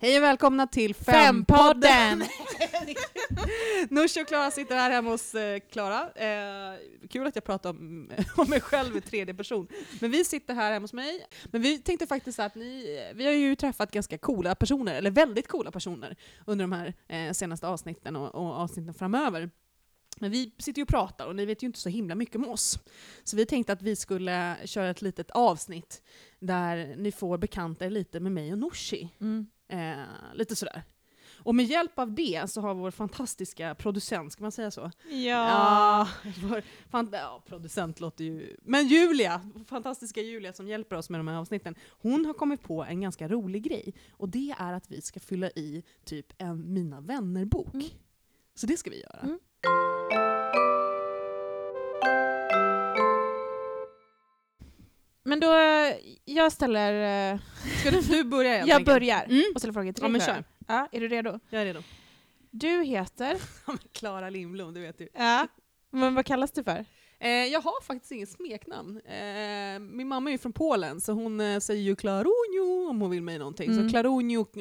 Hej och välkomna till Fempodden! Fempodden! Nooshi och Klara sitter här hemma hos eh, Klara. Eh, kul att jag pratar om, om mig själv i tredje person. Men vi sitter här hemma hos mig. Men vi tänkte faktiskt så här att ni, eh, vi har ju träffat ganska coola personer, eller väldigt coola personer, under de här eh, senaste avsnitten och, och avsnitten framöver. Men vi sitter ju och pratar och ni vet ju inte så himla mycket om oss. Så vi tänkte att vi skulle köra ett litet avsnitt där ni får bekanta er lite med mig och Nooshi. Mm. Eh, lite sådär. Och med hjälp av det så har vår fantastiska producent, ska man säga så? Ja. vår fan, ja, producent låter ju... Men Julia, fantastiska Julia som hjälper oss med de här avsnitten, hon har kommit på en ganska rolig grej. Och det är att vi ska fylla i typ en Mina vänner-bok. Mm. Så det ska vi göra. Mm. Men då, eh, jag ställer... eh, Ska du, du börja helt Jag enkelt? börjar Mm. och ställer frågor till Ja, dig. men Clara. kör. Ja, är du redo? Jag är redo. Du heter... Ja, men Klara Lindblom, du vet ju. Ja. Men vad kallas du för? Eh, jag har faktiskt inget smeknamn. Eh, min mamma är ju från Polen så hon eh, säger ju Klarunio om hon vill mig någonting. Mm. Så Klarunio... Eh,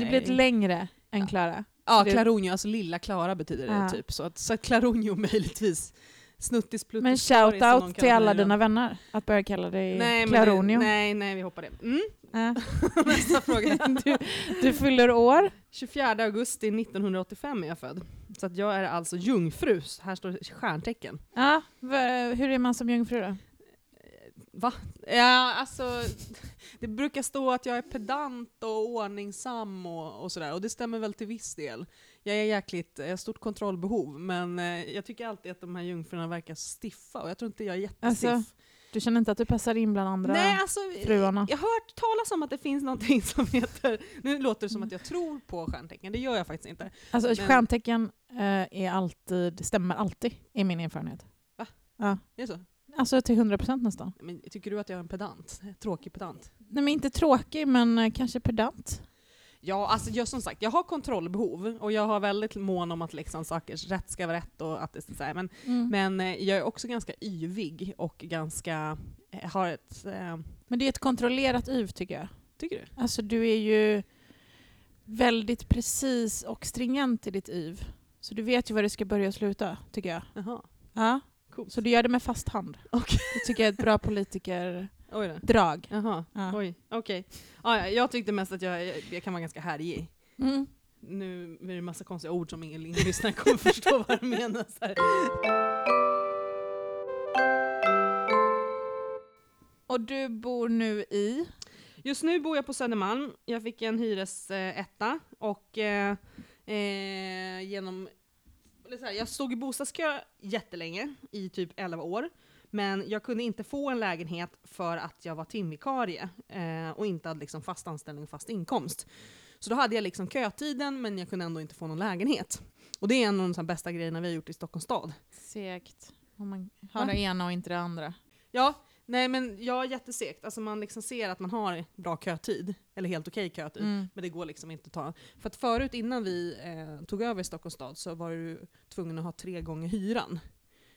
Det blir ett längre än Ja. Klara. Ja, det- Klarunio, alltså lilla Klara betyder det Ja. typ. Så att, så att Klarunio möjligtvis. Snuttis pluttis Men Klaris, som någon shout-out till kallar alla mig då. dina vänner att börja kalla dig Nej, men Claronio. Det, nej, nej, vi hoppar det. Mm. Ja. Nästa fråga. du, du fyller år. 24 augusti 1985 är jag född. Så att jag är alltså jungfru. Så Här står stjärntecken. Ja. v- Hur är man som jungfru då? Ja, alltså, det brukar stå att jag är pedant och ordningsam och, och sådär, och det stämmer väl till viss del. Jag är jäkligt, jag har stort kontrollbehov, men eh, jag tycker alltid att de här jungfrurna verkar stiffa, och jag tror inte jag är jättestiff. Alltså, Du känner inte att du passar in bland andra Nej, alltså, fruarna? jag har hört talas om att det finns någonting som heter, nu låter det som att jag tror på stjärntecken, det gör jag faktiskt inte. Alltså Men- stjärntecken eh, är alltid, stämmer alltid, är min erfarenhet. Va? Ja. Är det så? Alltså till 100% nästan. Men, tycker du att jag är en pedant? Tråkig pedant? Nej men inte tråkig, men eh, kanske pedant. Ja, alltså jag, som sagt, jag har kontrollbehov och jag har väldigt mån om att liksom saker rätt ska vara rätt och att det så här, men, Mm. Men, men eh, jag är också ganska yvig och ganska, eh, har ett, eh, det är ett kontrollerat yv tycker jag. tycker du? Alltså du är ju väldigt precis och stringent i ditt yv. Så du vet ju var du ska börja och sluta, tycker jag. Jaha, Ja. coolt. Så du gör det med fast hand. Okej. Det tycker jag är ett bra politikerdrag. Oj då. Jaha, Ja. oj, okej. Ah, ja, jag tyckte mest att jag, jag, jag kan vara ganska härjig. Mm. Nu är det en massa konstiga ord som ingen lyssnare kommer förstå vad det menas. Här. Och du bor nu i? Just nu bor jag på Södermalm. Jag fick en hyresetta och eh, eh, genom... Eller så här, jag stod i bostadskö jättelänge, i typ 11 år. Men jag kunde inte få en lägenhet för att jag var timvikarie eh, och inte hade liksom fast anställning och fast inkomst. Så då hade jag liksom kötiden men jag kunde ändå inte få någon lägenhet. Och det är en av de så här bästa grejerna vi har gjort i Stockholms stad. Segt. Om man har det ena och inte det andra. Ja, nej men jag är jättesegt. Alltså man liksom ser att man har bra kötid, eller helt okej kötid. Mm. Men det går liksom inte att ta. För att förut innan vi eh, tog över Stockholms stad så var du tvungen att ha tre gånger hyran.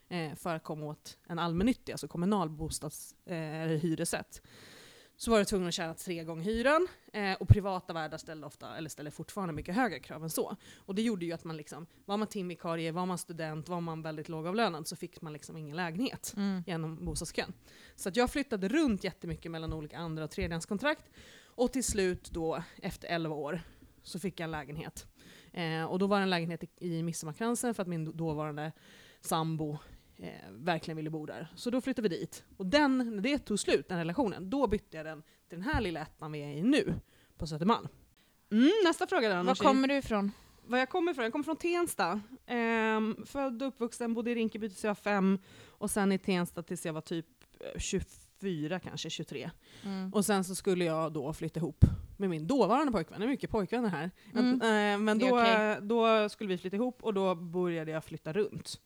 Eh, för att komma åt en allmännyttig, alltså kommunal bostads, eh, eller hyresrätt. Så var du tvungen att tjäna tre gånger hyran. Eh, och privata värdar ställde ofta, eller ställer fortfarande mycket högre krav än så. Och det gjorde ju att man liksom, var man timvikarie, var man student, var man väldigt lågavlönad så fick man liksom ingen lägenhet Mm. genom bostadskön. Så att jag flyttade runt jättemycket mellan olika andra och tredjehandskontrakt. Och till slut då, efter 11 år, så fick jag en lägenhet. Eh, och då var det en lägenhet i, i Midsommarkransen för att min dåvarande sambo eh, verkligen ville bo där. Så då flyttade vi dit. Och den, när det tog slut, den relationen, då bytte jag den till den här lilla ettan vi är i nu, på Södermalm. Mm, nästa fråga där Var Anoshi. kommer du ifrån? Var jag kommer ifrån? Jag kommer från Tensta. Ehm, född och uppvuxen, bodde i Rinkeby tills jag var fem och sen i Tensta tills jag var typ eh, 24 kanske, 23. Mm. Och sen så skulle jag då flytta ihop med min dåvarande pojkvän, det är mycket pojkvänner här. Mm. Men, eh, men Det är då, okej. då skulle vi flytta ihop och då började jag flytta runt.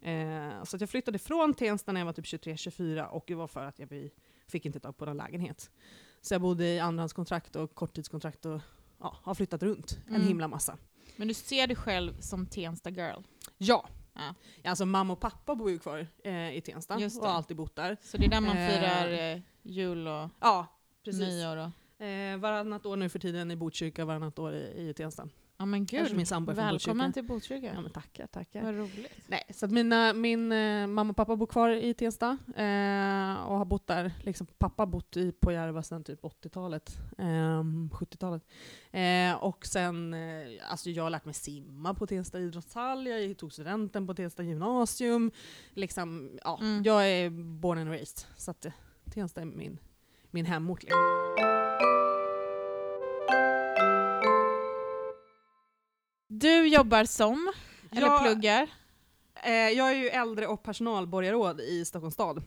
Eh, så att jag flyttade från Tensta när jag var typ 23-24 och det var för att jag vi- fick inte tag på någon lägenhet. Så jag bodde i andrahandskontrakt och korttidskontrakt och ja, har flyttat runt en Mm. himla massa. Men du ser dig själv som Tensta girl. Ja. Ja. Alltså mamma och pappa bor ju kvar eh, i Tensta Just och har det. alltid bott där. Så det är där man Eh. firar eh, jul och Ja, precis. nyår och... Eh, varannat år nu för tiden i Botkyrka, varannat år i, i Tensta. Ja men Kanske gud, min sambo är från välkommen Botkyrka. till Botkyrka. Ja, men tackar, tackar. Vad roligt. Nej, så att mina, min eh, mamma och pappa bor kvar i Tensta eh, och har bott där. Liksom, pappa har bott i, på Järva sedan typ 80-talet, ehm, 70-talet. Eh, och sen, eh, alltså jag har lärt mig simma på Tensta idrottshall, jag tog studenten på Tensta gymnasium. Liksom, ja, Mm. Jag är born and raised, så att eh, Tensta är min, min hemort. liksom. Du jobbar som, eller Jag- pluggar. Eh, jag är ju äldre och personalborgarråd i Stockholms stad.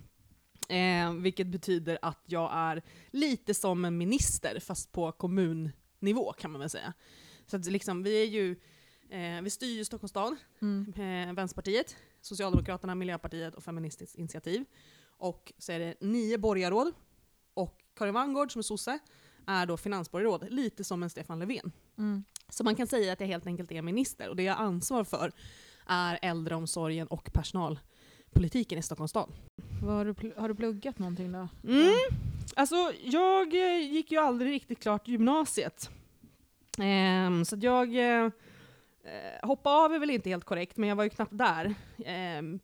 Eh, vilket betyder att jag är lite som en minister fast på kommunnivå kan man väl säga. Så att liksom, vi är ju, eh, vi styr ju Stockholms stad, Mm. eh, Vänsterpartiet, Socialdemokraterna, Miljöpartiet och Feministiskt initiativ. Och så är det nio borgarråd. Och Karin Vangård som är sosse är då finansborgarråd, lite som en Stefan Löfven. Mm. Så man kan säga att jag helt enkelt är minister och det jag har ansvar för är äldreomsorgen och personalpolitiken i Stockholms stad. Vad har, du pl- har du pluggat någonting då? Mm. Alltså, jag eh, gick ju aldrig riktigt klart gymnasiet. Ehm, så att jag eh, eh, hoppade av är väl inte helt korrekt, men jag var ju knappt där. Ehm,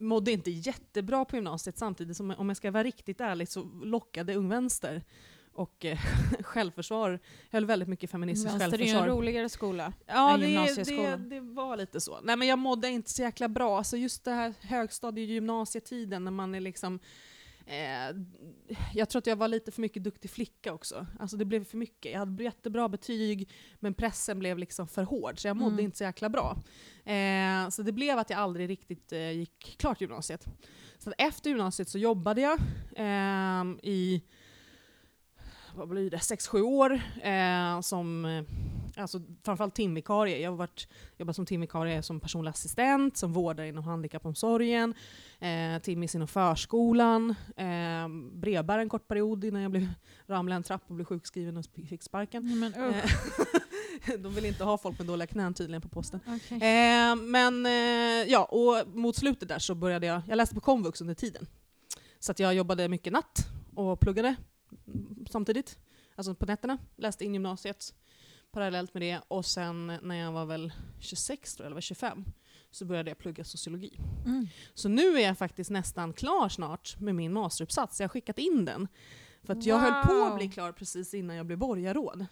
mådde inte jättebra på gymnasiet samtidigt som, om jag ska vara riktigt ärlig, så lockade Ung Vänster och eh, självförsvar, höll väldigt mycket feministiskt Vänster är självförsvar. ju en roligare skola. Ja, än det, det, gymnasieskolan. det var lite så. Nej, men jag mådde inte så jäkla bra. Alltså just det här högstadie och gymnasietiden när man är liksom... Eh, jag tror att jag var lite för mycket duktig flicka också. Alltså det blev för mycket. Jag hade jättebra betyg, men pressen blev liksom för hård. Så jag mådde Mm. inte så jäkla bra. Eh, så det blev att jag aldrig riktigt eh, gick klart gymnasiet. Så att efter gymnasiet så jobbade jag ehm, i vad blir det, sex sju år eh, som eh, alltså framförallt timvikarie. Jag har varit, jobbat som timvikarie som personlig assistent, som vårdare inom handikappomsorgen, eh, timmis inom förskolan, eh, brevbärare en kort period innan jag blev, ramlade en trappa och blev sjukskriven och fick sparken. Nej, men, usch, Eh, De vill inte ha folk med dåliga knän tydligen på posten. okej. Eh, men eh, ja, och mot slutet där så började jag, jag läste på komvux under tiden. Så att jag jobbade mycket natt och pluggade mm, samtidigt. Alltså på nätterna, läste in gymnasiet parallellt med det. Och sen när jag var väl 26 tror jag, eller var 25, så började jag plugga sociologi. Mm. Så nu är jag faktiskt nästan klar snart med min masteruppsats. Jag har skickat in den. För att jag höll på att Wow. bli klar precis innan jag blev borgarråd.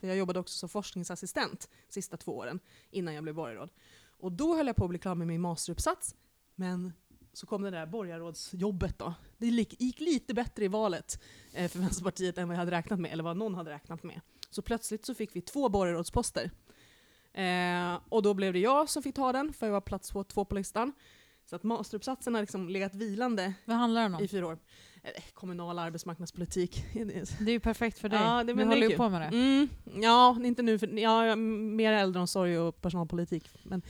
För jag jobbade också som forskningsassistent sista två åren innan jag blev borgarråd. Och då höll jag på att bli klar med min masteruppsats. Men så kom det där borgarrådsjobbet då. Det gick, gick lite bättre i valet eh, för Vänsterpartiet än vad jag hade räknat med, eller vad någon hade räknat med. Så plötsligt så fick vi två borgarrådsposter. Eh, och då blev det jag som fick ta den, för jag var plats två, två på listan. Så att masteruppsatsen har liksom legat vilande Vad handlar den i om? fyra år. Eh, Kommunal arbetsmarknadspolitik. Det är ju perfekt för dig. Ja, det- men det du är håller ju kul. på med det. Mm, ja, inte nu för ja, ja, mer äldreomsorg och personalpolitik. Men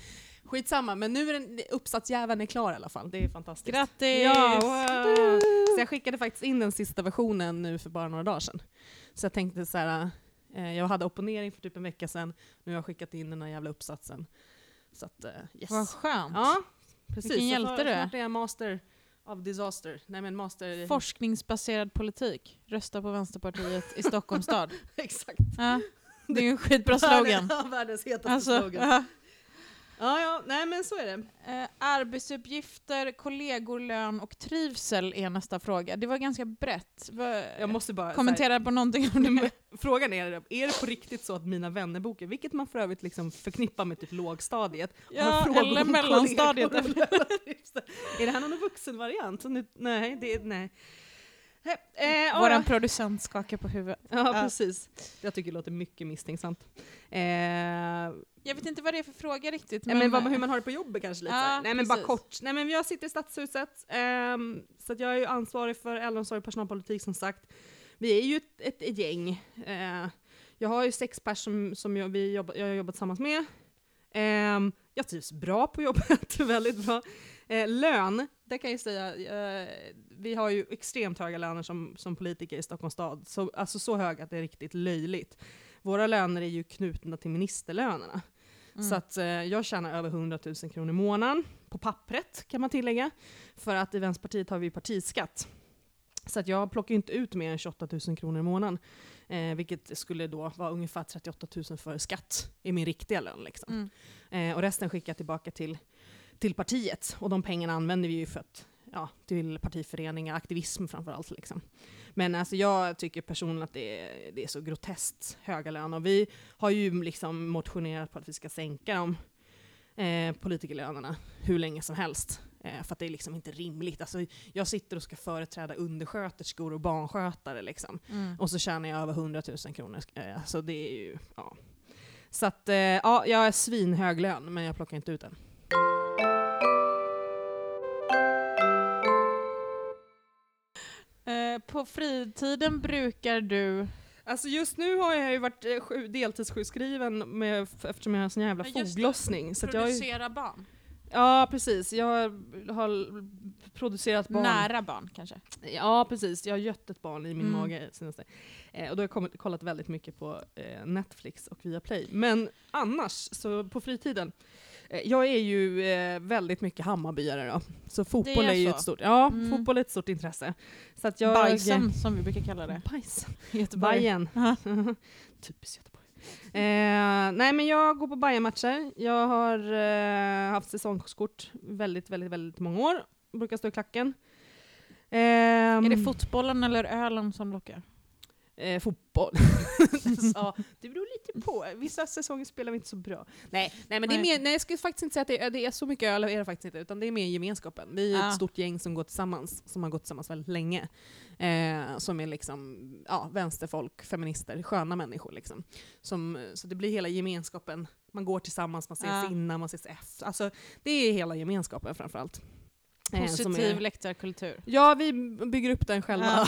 skitsamma, men nu är den, uppsatsjäveln är klar i alla fall. Det är fantastiskt. Grattis! Ja, wow. Så jag skickade faktiskt in den sista versionen nu för bara några dagar sedan. Så jag tänkte så här, eh, jag hade opponering för typ en vecka sedan, nu har jag skickat in den här jävla uppsatsen. Så att, eh, yes. Vad skönt. Ja, precis. Vilken Så hjälte snart- du är. Snart är jag master of disaster. Nej men master... Forskningsbaserad politik. Rösta på Vänsterpartiet i Stockholms stad. Exakt. Ja, det är ju en skitbra slogan. Världens, världens hetaste Alltså, slogan. ja. Ja, ja, nej men så är det. Eh, arbetsuppgifter, kollegor, lön och trivsel är nästa fråga. Det var ganska brett. Va- Jag måste bara... så Kommentera på någonting om det. här, Frågan är, är det på riktigt så att mina vännerboken, vilket man för övrigt liksom förknippar med typ lågstadiet, har Ja, frågor om eller kollegor mellanstadiet. och lärartrivsel? är det här någon vuxenvariant? Så nu- Nej, det är... Nej. Eh, ja, ja. Vår producent skakar på huvudet. Ja, Ja. precis. Jag tycker det låter mycket misstänksamt. Eh, Jag vet inte vad det är för fråga riktigt. men, men vad, hur man har det på jobbet kanske lite. Ja, så här. Nej men bara precis. kort. Nej men jag sitter i Stadshuset, ehm, så att jag är ju ansvarig för äldreomsorg och personalpolitik som sagt. Vi är ju ett, ett, ett gäng. Eh, jag har ju sex personer som, som jag, vi jobba, jag har jobbat tillsammans med. Ehm, jag trivs bra på jobbet, väldigt bra. Eh, lön, det kan jag ju säga, eh, vi har ju extremt höga löner som, som politiker i Stockholms stad. Så, alltså så höga att det är riktigt löjligt. Våra löner är ju knutna till ministerlönerna. Mm. Så att eh, jag tjänar över 100 000 kronor i månaden, på pappret kan man tillägga. För att i Vänsterpartiet har vi ju partiskatt. Så att jag plockar ju inte ut mer än 28 000 kronor i månaden. Eh, vilket skulle då vara ungefär 38 000 före skatt i min riktiga lön. Liksom. Mm. Eh, och resten skickar jag tillbaka till, till partiet. Och de pengarna använder vi ju för att, ja, till partiföreningar, aktivism framförallt. Liksom. Men alltså, jag tycker personligen att det är, det är så groteskt höga löner. Och vi har ju liksom motionerat på att vi ska sänka dem, eh, politikerlönerna, hur länge som helst. Eh, för att det är liksom inte rimligt. Alltså, jag sitter och ska företräda undersköterskor och barnskötare. Liksom. Mm. Och så tjänar jag över 100 000 kronor. Eh, Så det är ju, ja. Så att, eh, ja, jag är svinhög lön, men jag plockar inte ut den. Eh, på fritiden brukar du... Alltså just nu har jag ju varit eh, sju, deltidssjukskriven med, f- eftersom jag har en sån jävla Ja, just det. foglossning. Så att jag har ju, producera barn. ja, precis. Jag har l- producerat barn. Nära barn kanske. Ja, precis. Jag har gött ett barn i min Mm. mage senaste. Eh, och då har jag kommit, kollat väldigt mycket på eh, Netflix och Viaplay. Men annars, så på fritiden. Eh, jag är ju eh, väldigt mycket Hammarbyare då. Så fotboll är, är ju så. ett stort, ja, Mm. fotboll är ett stort intresse. Så att jag, Bajsen som vi brukar kalla det. Bajsen. Göteborg. Bajen. Typiskt Göteborg. Eh, nej men jag går på Bajen-matcher. Jag har eh, haft säsongskort väldigt, väldigt, väldigt många år. Brukar stå i klacken. Ehm, Är det fotbollen eller ölen som lockar? eh, fotboll. ja, det beror lite på. Vissa säsonger spelar vi inte så bra. Nej, nej men Det är Nej. mer, nej, jag skulle faktiskt inte säga att det är, det är så mycket öl, är det faktiskt inte, utan det är mer gemenskapen. Vi är Ah. ett stort gäng som går tillsammans, som har gått tillsammans väldigt länge. Eh, som är liksom, ja, vänsterfolk, feminister, sköna människor. Liksom. Som, eh, så det blir hela gemenskapen. Man går tillsammans, man ses Ah. innan, man ses efter. Alltså, det är hela gemenskapen framförallt. Eh, som är- Positiv läktarkultur. Ja, vi bygger upp den själva.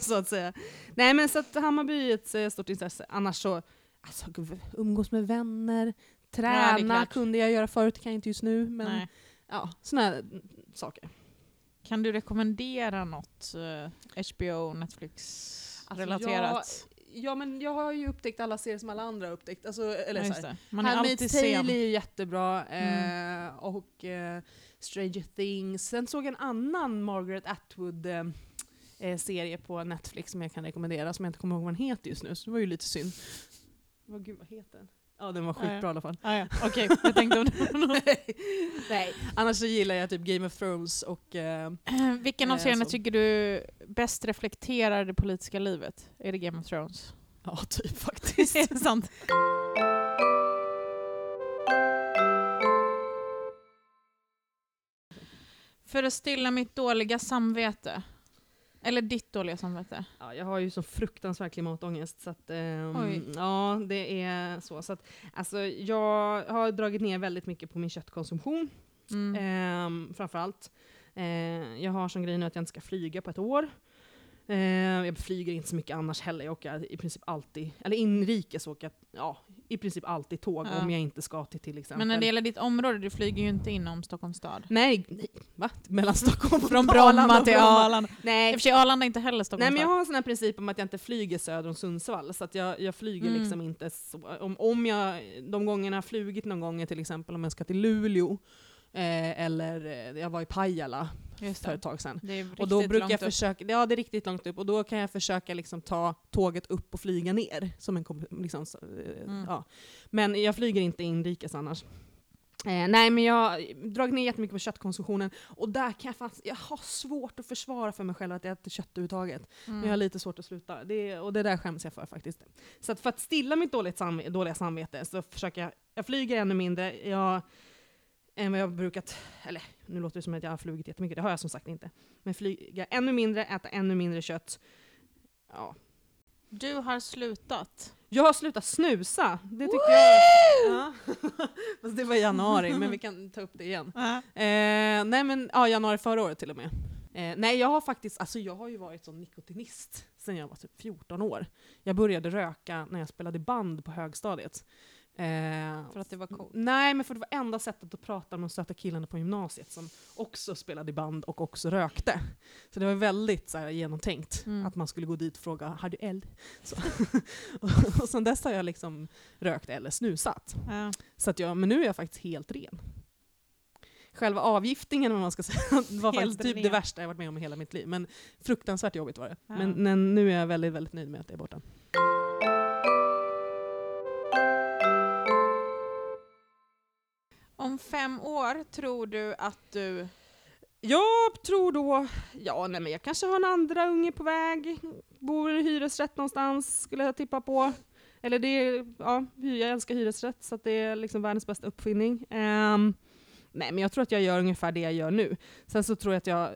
så att säga. Nej men så att Hammarby är ett eh, stort intresse. Annars så, alltså, gud, umgås med vänner, Ja, det är träna klart. kunde jag göra förut, kan jag inte just nu. Men Nej. ja, sådana här mm, saker. Kan du rekommendera något eh, HBO, Netflix-relaterat? Alltså, Ja men jag har ju upptäckt alla serier som alla andra har upptäckt. Alltså, eller Ja, så just här. det. Man är alltid Handmaid's Tale är sen. ju jättebra, eh, och eh, Stranger Things. Sen såg jag en annan Margaret Atwood-serie eh, serie på Netflix som jag kan rekommendera, som jag inte kommer ihåg vad den heter just nu, så det var ju lite synd. Vad, gud, vad heter den? Ja, den var Ja, ja. skitbra i alla fall. Ah, ja. Okej, jag tänkte om det var någon. Nej, annars så gillar jag typ Game of Thrones och... Eh, Vilken av Eh, serierna så. tycker du bäst reflekterar det politiska livet? Är det Game of Thrones? ja, typ faktiskt. är det sant? För att stilla mitt dåliga samvete. Eller ditt dåliga samvete. Ja, jag har ju så fruktansvärd klimatångest. Så att, ehm, Oj. ja, det är så. så att, alltså, jag har dragit ner väldigt mycket på min köttkonsumtion, Mm. ehm, framförallt. Eh, jag har som grej nu att jag inte ska flyga på ett år. Eh, jag flyger inte så mycket annars heller. Jag åker i princip alltid, eller inrikes åker jag ja, i princip alltid tåg Ja. om jag inte ska till till exempel. Men när det gäller ditt område, du flyger ju inte inom Stockholms stad. Nej, nej, va? Mellan Stockholm och Mm. Från Arlanda Bromma och till Bromma. Arlanda. I Nej, och för sig Arlanda är inte heller Nej Stockholms men jag stad. har en sån här princip om att jag inte flyger söder om Sundsvall, så att jag, jag flyger Mm. liksom inte så. Om, om jag, de gångerna jag har flugit någon gång, till exempel om jag ska till Luleå, eh, eller eh, jag var i Pajala Just för det. ett tag sedan. det är riktigt Och då brukar långt jag upp. försöka, ja det är riktigt långt upp, och då kan jag försöka liksom ta tåget upp och flyga ner. Som en, kom- liksom, så, eh, Mm. ja. Men jag flyger inte inrikes annars. Eh, nej men jag har dragit ner jättemycket på köttkonsumtionen, och där kan jag fast, jag har svårt att försvara för mig själv att jag äter kött överhuvudtaget. Men jag har lite svårt att sluta. Det, och det där skäms jag för faktiskt. Så att för att stilla mitt dåligt sam, dåliga samvete så försöker jag, jag flyger ännu mindre jag, än vad jag brukat, eller nu låter det som att jag har flugit jättemycket, det har jag som sagt inte. Men flyga ännu mindre, äta ännu mindre kött. Ja. Du har slutat. Jag har slutat snusa, det tycker jag. Ja. Fast det var i januari, men vi kan ta upp det igen. Eh, nej men ja, januari förra året till och med. Eh, nej jag har faktiskt, alltså jag har ju varit sån nikotinist sen jag var typ 14 år. Jag började röka när jag spelade i band på högstadiet. Eh, För att det var coolt. Nej men för det var enda sättet att prata med de söta killarna på gymnasiet som också spelade i band och också rökte. Så det var väldigt så här, genomtänkt Mm. att man skulle gå dit och fråga har du eld? Så. och, och sen dess har jag liksom rökt eller snusat. Ja. Så att jag, men nu är jag faktiskt helt ren. själva avgiftningen, om man ska säga, var faktiskt typ Helt det ren. värsta jag varit med om i hela mitt liv. Men fruktansvärt jobbigt var det. Ja. Men, men nu är jag väldigt, väldigt nöjd med att det är borta. Om fem år tror du att du... Jag tror då, ja nej men jag kanske har en andra unge på väg, bor i hyresrätt någonstans skulle jag tippa på. Eller det är, ja, hy- jag älskar hyresrätt så att det är liksom världens bästa uppfinning. Ehm, nej men jag tror att jag gör ungefär det jag gör nu. Sen så tror jag att jag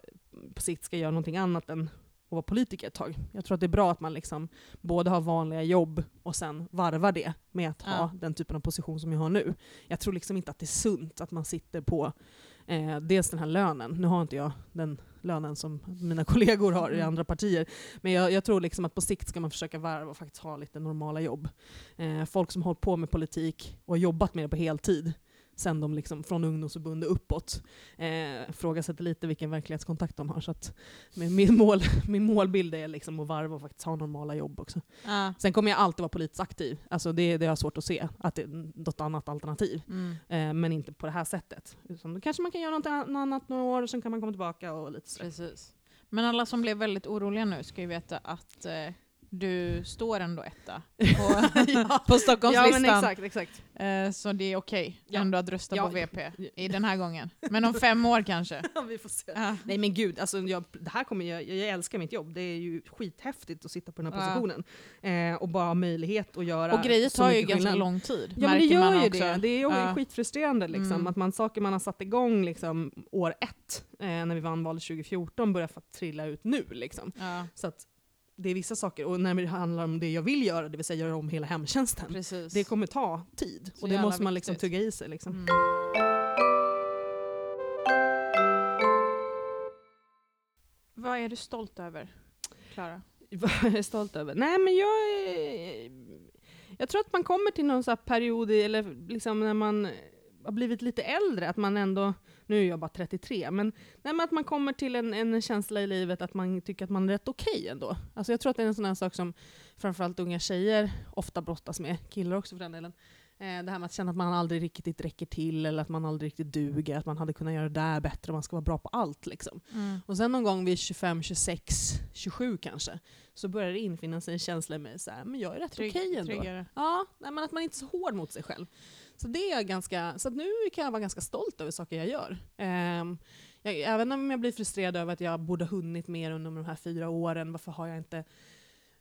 på sikt ska göra någonting annat än att vara politiker ett tag. Jag tror att det är bra att man liksom både har vanliga jobb och sen varvar det med att ha Ja. den typen av position som jag har nu. Jag tror liksom inte att det är sunt att man sitter på Eh, dels den här lönen, nu har inte jag den lönen som mina kollegor har i Mm. andra partier. Men jag, jag tror liksom att på sikt ska man försöka varva och faktiskt ha lite normala jobb. Eh, folk som har hållit på med politik och har jobbat med det på heltid, sen de liksom från ungdomsförbund och uppåt, eh, ifrågasätter lite vilken verklighetskontakt de har. Så att min, min, mål, min målbild är liksom att varva och faktiskt ha normala jobb också. Ja. Sen kommer jag alltid vara politiskt aktiv, alltså det, det har jag svårt att se, att det är något annat alternativ. Mm. Eh, men inte på det här sättet. Utan då kanske man kan göra något an- annat några år och sen kan man komma tillbaka och lite sådär. Precis. Men alla som blev väldigt oroliga nu ska ju veta att eh, du står ändå etta på, Ja. på Stockholmslistan. exakt. Eh, så det är okej Ja. ändå att rösta Ja. på VP i den här gången. Men om fem år kanske. Vi får se. Ja. Eh, Nej men gud, alltså jag, det här kommer, jag, jag älskar mitt jobb. Det är ju skithäftigt att sitta på den här Ja. positionen. Eh, och bara ha möjlighet att göra Och grejer så tar ju mycket ganska skillnad. lång tid. Ja men det märker man gör ju också. det. Det är ju Ja. skitfrustrerande liksom. Mm. Att man, saker man har satt igång liksom, år ett, eh, när vi vann valet 2014, börjar fa- trilla ut nu liksom. Ja, Så att det är vissa saker, och när det handlar om det jag vill göra, det vill säga göra om hela hemtjänsten. precis. Det kommer ta tid Så och det jävla måste man liksom viktigt. tugga i sig. Liksom. Mm. Vad är du stolt över, Klara? Vad jag är stolt över? Nej men jag är, Jag tror att man kommer till någon så här period, i- eller liksom när man har blivit lite äldre, att man ändå, nu är jag bara 33, men, nej, men att man kommer till en, en känsla i livet att man tycker att man är rätt okej ändå. Alltså jag tror att det är en sån här sak som framförallt unga tjejer ofta brottas med, killar också för den delen. Eh, Det här med att känna att man aldrig riktigt räcker till, eller att man aldrig riktigt duger, att man hade kunnat göra det där bättre, man ska vara bra på allt liksom. Mm. Och sen någon gång vid 25, 26, 27 kanske, så börjar det infinna sig en känsla i mig så här, men jag är rätt okej Trygg- ändå. tryggare. Ja, nej, men att man inte är så hård mot sig själv. Så, det är jag ganska, så att nu kan jag vara ganska stolt över saker jag gör. Ehm, jag, även om jag blir frustrerad över att jag borde ha hunnit mer under de här fyra åren, varför har jag inte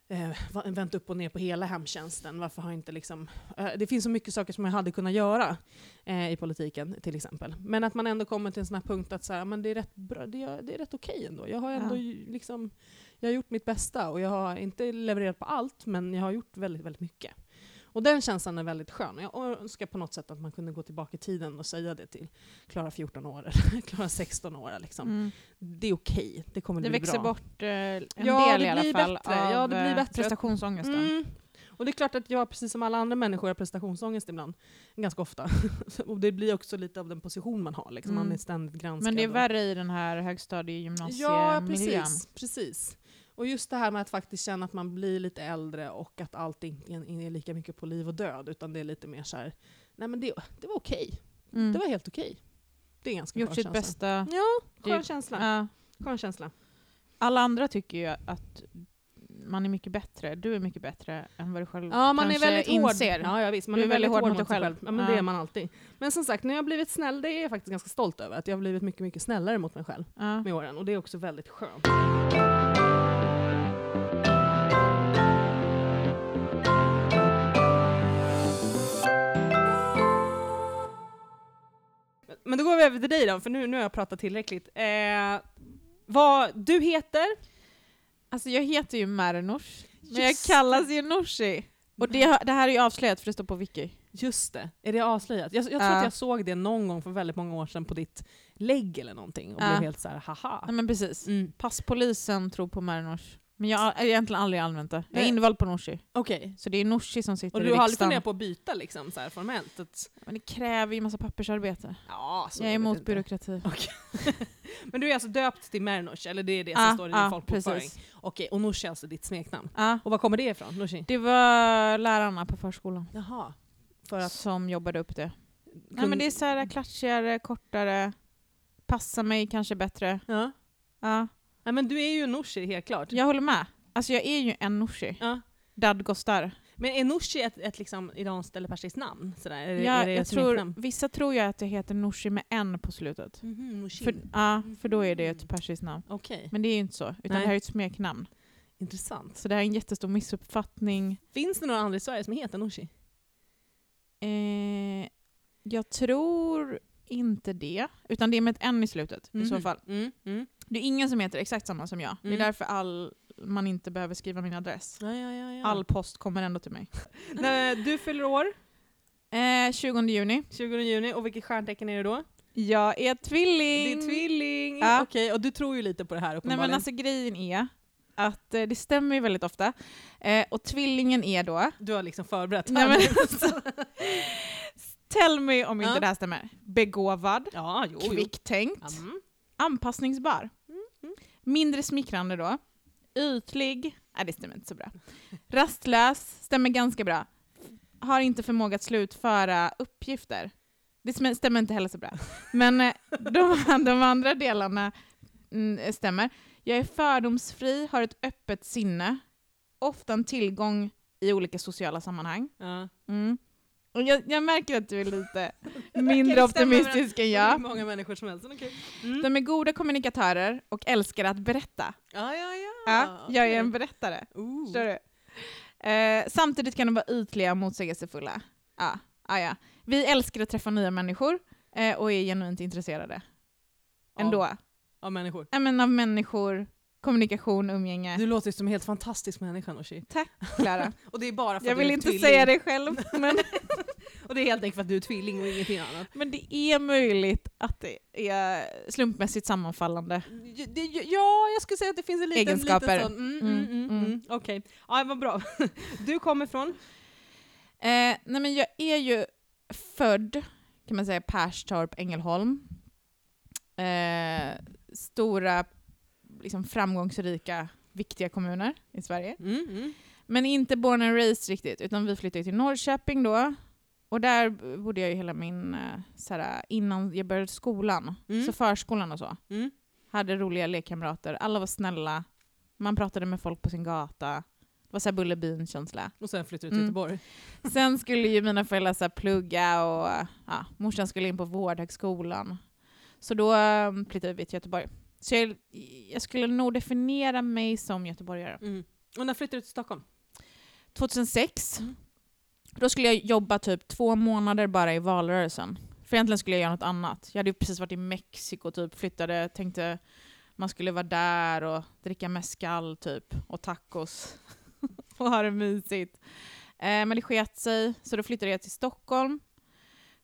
eh, va- vänt upp och ner på hela hemtjänsten? Varför har jag inte liksom, eh, det finns så mycket saker som jag hade kunnat göra eh, i politiken till exempel. Men att man ändå kommer till en sån här punkt att så här, men det är rätt, bra, det är, det är rätt okej ändå. Jag har ändå Ja. ju- liksom, jag har gjort mitt bästa och jag har inte levererat på allt, men jag har gjort väldigt, väldigt mycket. Och den känslan är väldigt skön. Jag önskar på något sätt att man kunde gå tillbaka i tiden och säga det till Klara 14 år eller Klara 16 år. Liksom. Mm. Det är okej, det kommer Det bli växer bra. bort eh, en Ja, del det i alla blir fall bättre. av Ja, det blir eh, bättre. prestationsångesten. Mm. Och det är klart att jag, precis som alla andra människor, har prestationsångest ibland. Ganska ofta. och det blir också lite av den position man har. Liksom. Man Mm. är ständigt granskad. Men det är och- värre i den här högstadiegymnasiemiljön. Ja, precis, precis. Och just det här med att faktiskt känna att man blir lite äldre och att allt inte är lika mycket på liv och död, utan det är lite mer så här, nej men det, det var okej. Mm. Det var helt okej. Det Mm. är en ganska Gjort bra sitt känsla. bästa. Ja, skön Det- känsla. Ja. Skön känsla. Alla andra tycker ju att man är mycket bättre, du är mycket bättre än vad du själv Ja, man är kanske väldigt hård. inser. Ja, ja, visst. Man Du är väldigt hård mot sig dig själv. Ja, men Ja. det är man alltid. Men som sagt, när jag har blivit snäll, det är jag faktiskt ganska stolt över. Att jag har blivit mycket, mycket snällare mot mig själv Ja. med åren. Och det är också väldigt skönt. Men då går vi över till dig då, för nu, nu har jag pratat tillräckligt. Eh, vad du heter? Alltså jag heter ju Mernoush, men jag Just kallas ju Norsi. Och det, har- det här är ju avslöjat för det står på Wiki. Just det, är det avslöjat? Jag, jag tror att Ja. jag såg det någon gång för väldigt många år sedan på ditt lägg eller någonting och Ja. blev helt så här haha. Nej men precis. Mm. Passpolisen tror på Mernoush. Men jag har egentligen aldrig använt det. Jag är Nej. invald på Norsi. Okej. Så det är Norsi som sitter Och i du har aldrig riksdagen. funderat på att byta liksom så här formellt? Att, Men det kräver ju massa pappersarbete. ja, så jag är Alltså, vet emot inte. byråkrati. Men du är alltså döpt till Mernosh, eller det är det som Ah, står i din ah, folkbokföring? precis. Okej, och Nooshi är alltså ditt smeknamn. Ja. Och var kommer det ifrån? Nooshi? Det var lärarna på förskolan Jaha. För att som jobbade upp det. Nej, kun- Mm. men det är så här klatschigare, kortare, passa mig kanske bättre. Ja. Ja. Nej, men du är ju en Nooshi helt klart. Jag håller med. Alltså jag är ju en Nooshi. Ja. Dadgostar. Men är Nooshi ett, ett liksom iranskt eller persiskt namn? Sådär? Är, det- är Jag, det jag ett tror, smeknamn? vissa tror ju att jag heter Nooshi med en på slutet. Mhm, Nooshin. För, ja, för då är det Mhm. ett persiskt namn. Okej, Men det är ju inte så, utan Nej. det här är ett smeknamn. intressant. Så det här är en jättestor missuppfattning. Finns det några andra i Sverige som heter Nooshi? Eh, jag tror inte det, utan det är med ett N i slutet i så Mhm. fall. Mm, mm. Det är ingen som heter exakt samma som jag. Det Mm. är därför all, man inte behöver skriva min adress. Ja, ja, ja, ja. All post kommer ändå till mig. Nej, du fyller år Eh, 20 juni. 20 juni, och vilket stjärntecken är det då? Jag är tvilling! Det är tvilling! Ja. Okej, och du tror ju lite på det här Nej uppenbarligen. men alltså grejen är att eh, det stämmer ju väldigt ofta. Eh, och tvillingen är då... du har liksom förberett Nej, här men nu. alltså, tell me om inte Ja. det här stämmer. Begåvad, Ja, jo, jo. kvicktänkt, Mm. anpassningsbar. mm. Mindre smickrande då. Ytlig. Nej, det stämmer inte så bra. Rastlös. Stämmer ganska bra. Har inte förmåga att slutföra uppgifter. Det sm- stämmer inte heller så bra. Men eh, de, de andra delarna mm, stämmer. Jag är fördomsfri, har ett öppet sinne. Ofta en tillgång i olika sociala sammanhang. Ja. Mm. Och jag, jag märker att du är lite det mindre stämmer optimistisk än Det är jag. många människor som helst. men okej. Mm. De är goda kommunikatörer och älskar att berätta. Ja, ja, ja. Ja, jag är en okej. berättare. Ooh. Förstår du? Eh, samtidigt kan de vara ytliga och motsägelsefulla. Ja, ja, ja. Vi älskar att träffa nya människor eh, och är genuint intresserade. Ändå. Av människor. Ja. Men av människor, kommunikation, umgänge. Du låter ju som en helt fantastisk människa Nooshi. Klara. Och det är bara för Jag att vill du är inte tvilling. säga det själv, men, Och det är helt enkelt för att du är tvilling och ingenting annat. men det är möjligt att det är slumpmässigt sammanfallande. J- det- Ja, jag skulle säga att det finns en liten, Egenskaper. liten sån... Mm, mm, mm, Mm, mm. Okej, ja, vad bra. Du kommer från? Eh, nej men jag är ju född, kan man säga, Perstorp, Ängelholm. Eh, stora, liksom framgångsrika, viktiga kommuner i Sverige. Mm, mm. Men inte born and raised riktigt, utan vi flyttade till Norrköping då. Och där b- bodde jag ju hela min, eh, såhär, innan jag började skolan, Mm. så förskolan och så. Mm. Hade roliga lekkamrater, alla var snälla, man pratade med folk på sin gata. Det var såhär Bullerbyn-känsla. Och sen flyttade du till Mm. Göteborg. Sen skulle ju mina föräldrar så här plugga och ja, morsan skulle in på vårdhögskolan. Så då eh, flyttade vi till Göteborg. Så jag, jag skulle nog definiera mig som göteborgare. Mm. Och när flyttade du till Stockholm? 2006, Mm. då skulle jag jobba typ två månader bara i valrörelsen. För egentligen skulle jag göra något annat. Jag hade ju precis varit i Mexiko, typ, flyttade, tänkte man skulle vara där och dricka mezcal typ, och tacos. och ha det mysigt. Eh, men det sket sig, så då flyttade jag till Stockholm.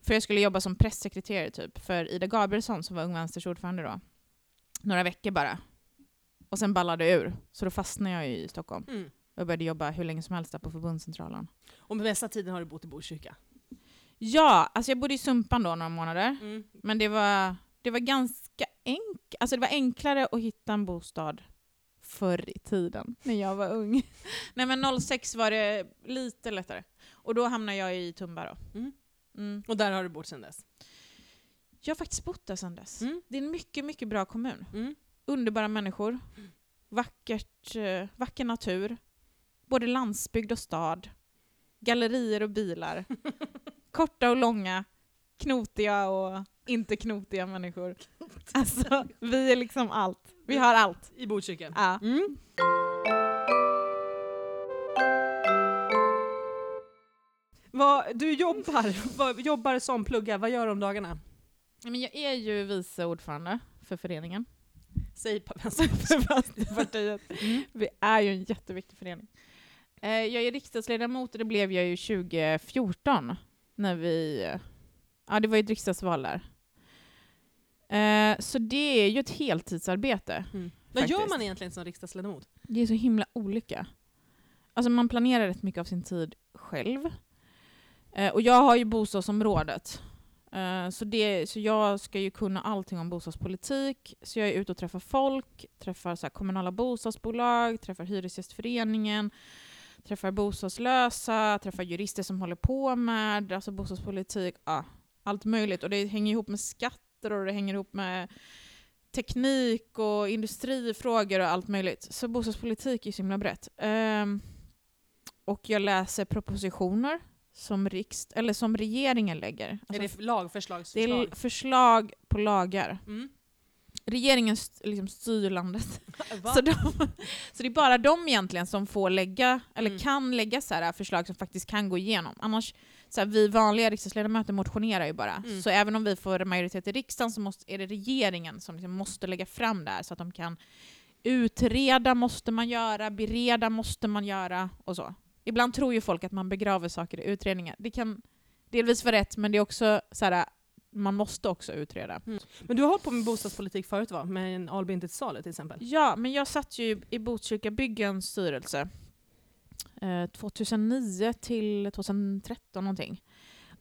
För jag skulle jobba som pressekreterare typ, för Ida Gabrielsson som var Ung Vänsters ordförande då. Några veckor bara. Och sen ballade jag ur, så då fastnade jag ju i Stockholm. Mm. Jag började jobba hur länge som helst där på förbundscentralen. Och mesta tiden har du bott i Botkyrka? Ja, alltså jag bodde i Sumpan då några månader. Mm. Men det var, det var ganska enk- alltså det var enklare att hitta en bostad förr i tiden, när jag var ung. Nej men 06 var det lite lättare. Och då hamnade jag i Tumba då. Mm. Mm. Och där har du bott sedan dess? Jag har faktiskt bott där sedan dess. Mm. Det är en mycket, mycket bra kommun. Mm. Underbara människor. Vackert, eh, vacker natur. Både landsbygd och stad. Gallerier och bilar. Korta och långa. Knotiga och inte knotiga människor. Alltså, vi är liksom allt. Vi har allt. I Botkyrka? Ja. Mm. Vad, du jobbar, vad, jobbar som pluggar, vad gör du om dagarna? Men jag är ju vice ordförande för föreningen. Säg på vänsterpartiet. Partiet. Vi är ju en jätteviktig förening. Mm. Eh, Jag är riksdagsledamot och det blev jag ju 2014 när vi... eh, Ja, det var ju ett riksdagsval där. Eh, Så det är ju ett heltidsarbete. Vad gör Faktiskt. man egentligen som riksdagsledamot? Det är så himla olika. Alltså man planerar rätt mycket av sin tid själv. Eh, Och jag har ju bostadsområdet. Eh, Så, det, så jag ska ju kunna allting om bostadspolitik. Så jag är ute och träffar folk, träffar så här kommunala bostadsbolag, träffar Hyresgästföreningen, träffar bostadslösa, träffar jurister som håller på med alltså bostadspolitik. Ja, allt möjligt. Och det hänger ihop med skatt skatter och det hänger ihop med teknik och industrifrågor och allt möjligt. Så bostadspolitik är så himla brett. Ehm, och jag läser propositioner som, riks- eller som regeringen lägger. är Alltså, det lagförslagsförslag? det är förslag på lagar. Mm. Regeringen st- liksom styr landet. Va? Så, de, så det är bara de egentligen som får lägga, eller Mm. kan lägga så här förslag som faktiskt kan gå igenom. Annars, så här, vi vanliga riksdagsledamöter motionerar ju bara. Mm. Så även om vi får majoritet i riksdagen så måste, är det regeringen som liksom måste lägga fram det här så att de kan utreda måste man göra, bereda måste man göra och så. Ibland tror ju folk att man begraver saker i utredningar. Det kan delvis vara rätt men det är också så här, man måste också utreda. Men du har hållit på med bostadspolitik förut va? Med en Albin till salu till exempel? Ja, men jag satt ju i Botkyrka byggens styrelse eh, 2009 till 2013 någonting.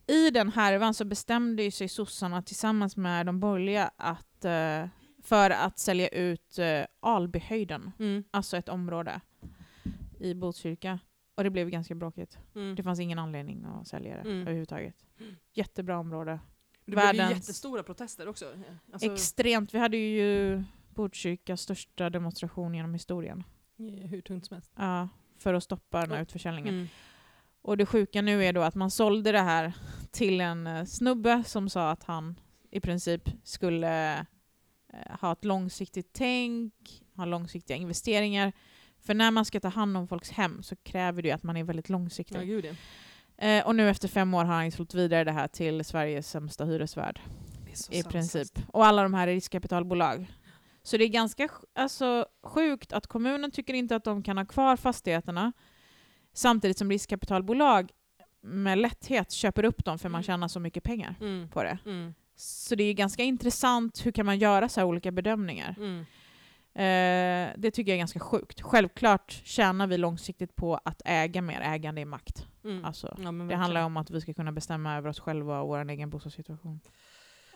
I den härvan så bestämde ju sig sossarna tillsammans med de borgerliga att, eh, för att sälja ut eh, Albyhöjden, Mm. alltså ett område i Botkyrka. Och det blev ganska bråkigt. Mm. Det fanns ingen anledning att sälja det Mm. överhuvudtaget. Jättebra område. Det blev ju Världens- jättestora protester också. Alltså, Extremt. Vi hade ju Botkyrkas största demonstration genom historien. hur tungt som helst. Ja, för att stoppa den här utförsäljningen. Mm. Och det sjuka nu är då att man sålde det här till en eh, snubbe som sa att han i princip skulle eh, ha ett långsiktigt tänk, ha långsiktiga investeringar. För när man ska ta hand om folks hem så kräver det ju att man är väldigt Ja, långsiktig. gud ja. Eh, och nu efter fem år har han ju sålt vidare det här till Sveriges sämsta hyresvärd Det är så i sant. princip. Och alla de här är riskkapitalbolag. Så det är ganska sj- alltså, sjukt att kommunen tycker inte att de kan ha kvar fastigheterna samtidigt som riskkapitalbolag med lätthet köper upp dem för man Mm. tjänar så mycket pengar Mm. på det. Mm. Så det är ganska intressant hur kan man göra så här olika bedömningar. Mm. Eh, det tycker jag är ganska sjukt. Självklart tjänar vi långsiktigt på att äga mer. Ägande är makt. Mm. Alltså, ja, men det handlar om att vi ska kunna bestämma över oss själva och vår egen bostadssituation.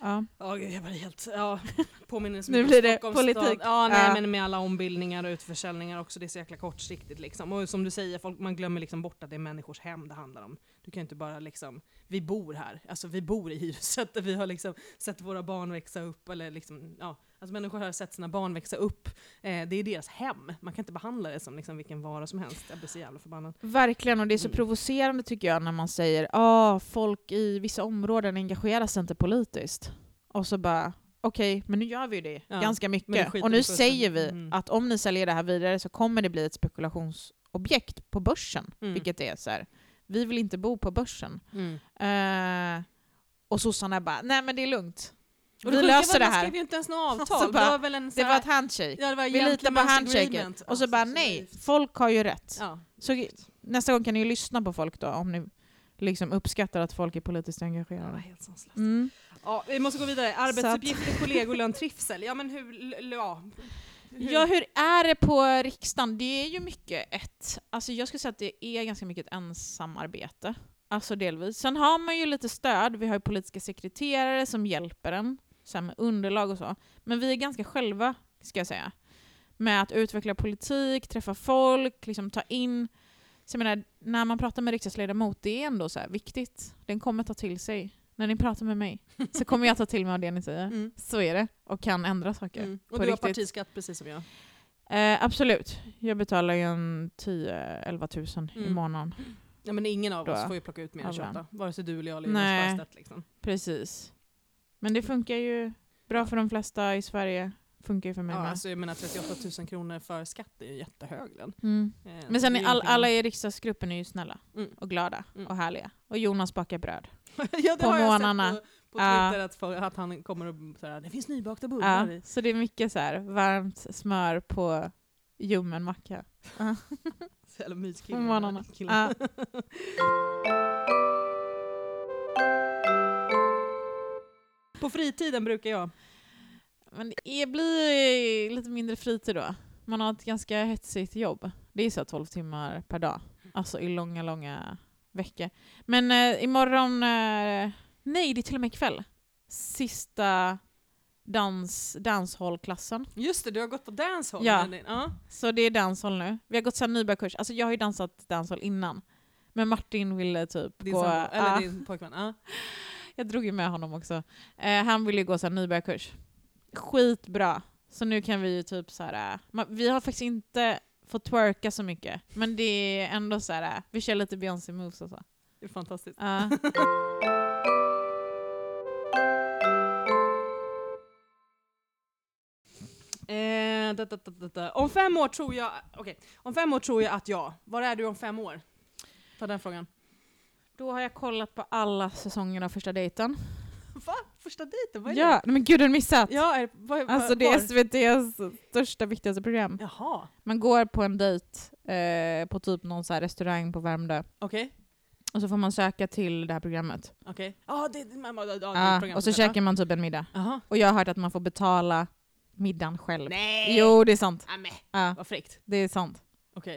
Ja. Ja, gud, jag var helt... Ja, påminner så Nu mycket om blir det Stockholms stad. politik. Ja, nej, Ja. men med alla ombildningar och utförsäljningar också. Det är så jäkla kortsiktigt liksom. Och som du säger, folk, man glömmer liksom bort att det är människors hem det handlar om. Du kan ju inte bara liksom, vi bor här. Alltså vi bor i hyresrätter. Vi har liksom sett våra barn växa upp. Eller liksom, ja. Alltså människor har sett sina barn växa upp. Eh, det är deras hem. Man kan inte behandla det som liksom vilken vara som helst. Jag blir så jävla förbannad. Verkligen, och det är så Mm. provocerande tycker jag när man säger ah, folk i vissa områden engagerar sig inte politiskt. Och så bara, okej, men nu gör vi ju det Ja, ganska men det mycket. skiter Och vi nu först. säger vi Mm. att om ni säljer det här vidare så kommer det bli ett spekulationsobjekt på börsen. Mm. Vilket är så här, vi vill inte bo på börsen. Eh, och sossarna bara, nej men det är lugnt. Och vi sjuka var löser att det Man här. skrev ju inte ens något avtal. Alltså bara, det var väl en så Det här- var ett handshake. ja, det var Vi litar på gentleman's handshaken. agreement. Och så Ja, bara, så- så nej, naivt. folk har ju rätt. Ja. Så nästa gång kan ni ju lyssna på folk då, om ni liksom uppskattar att folk är politiskt Ja, engagerade. helt sanslöst. Mm. Ja, vi måste gå vidare. Arbetsuppgifter, kollegor, lön, trivsel. Ja, men hur... l- l- Ja. Hur- Ja, hur är det på riksdagen? Det är ju mycket ett... Alltså jag skulle säga att det är ganska mycket ett ensamarbete. Alltså delvis. Sen har man ju lite stöd. Vi har ju politiska sekreterare som hjälper en så här med underlag och så. Men vi är ganska själva, ska jag säga. Med att utveckla politik, träffa folk, liksom ta in... Så jag menar, när man pratar med riksdagsledamot, det är ändå så här viktigt. Den kommer ta till sig. När ni pratar med mig så kommer jag ta till mig av det ni säger. Mm. Så är det. Och kan ändra saker. Mm. På Och du har riktigt. partiskatt precis som jag. Eh, absolut. Jag betalar ju en 10-11 000 i Mm. månaden. Ja, men ingen av Då. oss får ju plocka ut mer än Ja, bra. 28. Vare sig du eller jag eller Jonas Nej. Sjöstedt. Liksom. Precis. Men Mm. det funkar ju bra för de flesta i Sverige. Funkar ju för mig Ja, med. alltså, jag menar 38 000 kronor för skatt är ju jättehög lön. Mm. Eh, det Men sen är är ju all, ingenting. alla i riksdagsgruppen är ju snälla Mm. och glada Mm. och härliga. Och Jonas bakar bröd. ja, det på har jag morgnarna. sett på, på Ja. Twitter att, folk- att han kommer och säger det finns nybakta bullar. Ja, i." så det är mycket så här varmt smör på ljummen macka. Så jävla myskille. På morgnarna. Killen. Ja. På fritiden brukar jag. Men det blir ju lite mindre fritid då. Man har ett ganska hetsigt jobb. Det är så här 12 timmar per dag. Alltså i långa, långa veckor. Men eh, imorgon... Eh, nej, det är till och med ikväll. Sista dans, danshallklassen. Just det, du har gått på dancehall. Ja. med din- Ja. Så det är danshall nu. Vi har gått så här nybörjarkurs. Alltså jag har ju dansat danshall innan. Men Martin ville typ Din gå... sambo, eller ja. din pojkvän. Ja. Jag drog ju med honom också. Eh, han ville ju gå så här nybörjarkurs. Skitbra. Så nu kan vi ju typ så här. eh, Man, vi har faktiskt inte fått twerka så mycket. Men det är ändå så här. eh, vi kör lite Beyoncé-moves och så. Det är fantastiskt. Ja. Eh, da, da, da, da, da. Om fem år tror jag... Okej. Om fem år tror jag att jag... Var är du om fem år? Ta den frågan. Då har jag kollat på alla säsonger av Första dejten. Va? Första dejten? Vad är Ja, nej men gud den missat! det? Ja, är, vad, vad, Alltså det är var? SVTs största, viktigaste program. Jaha. Man går på en dejt eh, på typ någon så här restaurang på Värmdö. Okej. Och så får man söka till det här programmet. Okej. Ja, det, det, man, ja, det är Ja, programmet. och så käkar man typ en middag. Jaha. Och jag har hört att man får betala middagen själv. Nej! Jo, det är sant. Nämen, Ja, vad fräckt. det är sant. Okej.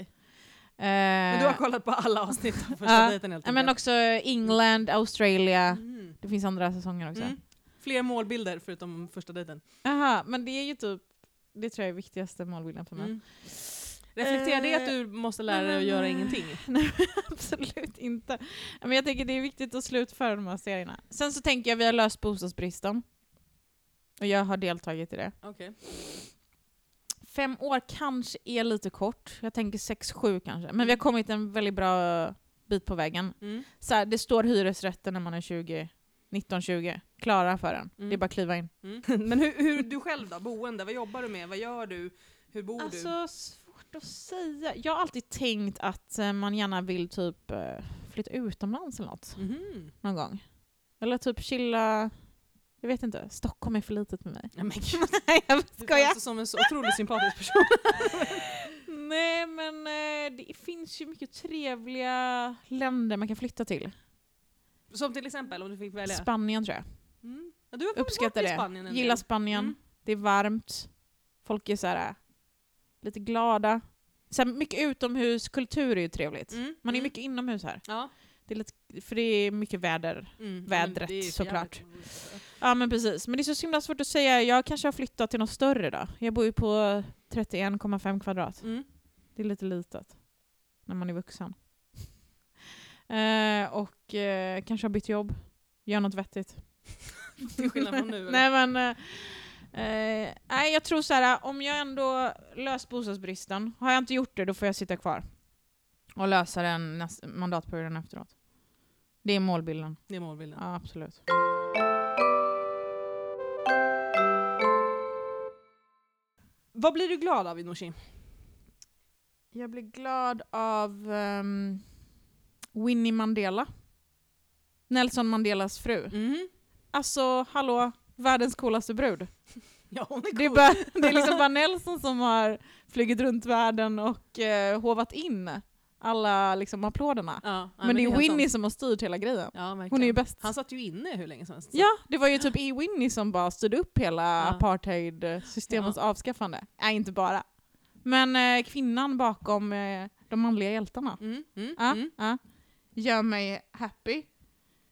Eh, Men du har kollat på alla avsnitt av första ja. dejten helt ja, men enkelt? också England, Australien. Mm. Det finns andra säsonger också. Mm. Fler målbilder förutom första dejten. Aha, men det är ju typ, det tror jag är viktigaste målbilden för mig. Mm. Reflekterar det att Eh, du måste lära dig att men- göra ingenting? Nej, men absolut inte. Men jag tänker det är viktigt att slutföra de här serierna. Sen så tänker jag vi har löst bostadsbristen. Och jag har deltagit i det. Okej. Fem år kanske är lite kort. Jag tänker sex, sju kanske. Men vi har kommit en väldigt bra bit på vägen. Mm. Så här, det står hyresrätter när man är 20, 19-20. Klara för den. Mm. Det är bara att kliva in. Mm. Men hur, hur du själv då? Boende? Vad jobbar du med? Vad gör du? Hur bor du? Alltså svårt att säga. Jag har alltid tänkt att eh, man gärna vill typ eh, flytta utomlands eller något. Mhm. någon gång. Eller typ chilla... Jag vet inte. Stockholm är för litet för mig. Nej men gud, Nej, jag du skojar. framstår som en så otroligt sympatisk person. Nej, men eh, det finns ju mycket trevliga länder man kan flytta till. Som till exempel om du fick välja. Spanien tror jag. Mm. Ja, du har varit Uppskattar i det. Spanien en Gillar del. Spanien. Mm. Det är varmt. Folk är så här, eh, lite glada. Sen mycket utomhuskultur är ju trevligt. Mm. Man är Mm. mycket inomhus här. Ja. Det är lite, för det är mycket väder. Mm. Ja, men Vädret, det är ju för såklart. jävligt. Ja men precis, men det är så himla svårt att säga. Jag kanske har flyttat till något större då. Jag bor ju på 31,5 kvadrat. Mm. Det är lite litet. När man är vuxen. Eh, och eh, kanske har bytt jobb. Gör något vettigt. Till skillnad från nu. eller? Nej men... eh, Eh, nej jag tror så här, om jag ändå löst bostadsbristen, har jag inte gjort det då får jag sitta kvar. Och lösa den näst, mandatperioden efteråt. Det är målbilden. Det är målbilden. Ja absolut. Vad blir du glad av i Nooshi? Jag blir glad av ehm, Winnie Mandela. Nelson Mandelas fru. Mhm. Alltså, hallå, världens coolaste brud. Ja, hon är cool. Det är, bara, det är liksom bara Nelson som har flugit runt världen och eh, hovat in alla liksom, applåderna. Ja, ja, men det är helt Winnie sant. som har styrt hela grejen. Ja, Hon är ju verkligen. bäst. Han satt ju inne hur länge som helst. Ja, det var ju typ i Winnie som bara styrde upp hela Ja. apartheidsystemets avskaffande. Nej, inte bara. Men eh, kvinnan bakom eh, de manliga hjältarna. Mm, mm, Ja, mm. ja. Gör mig happy.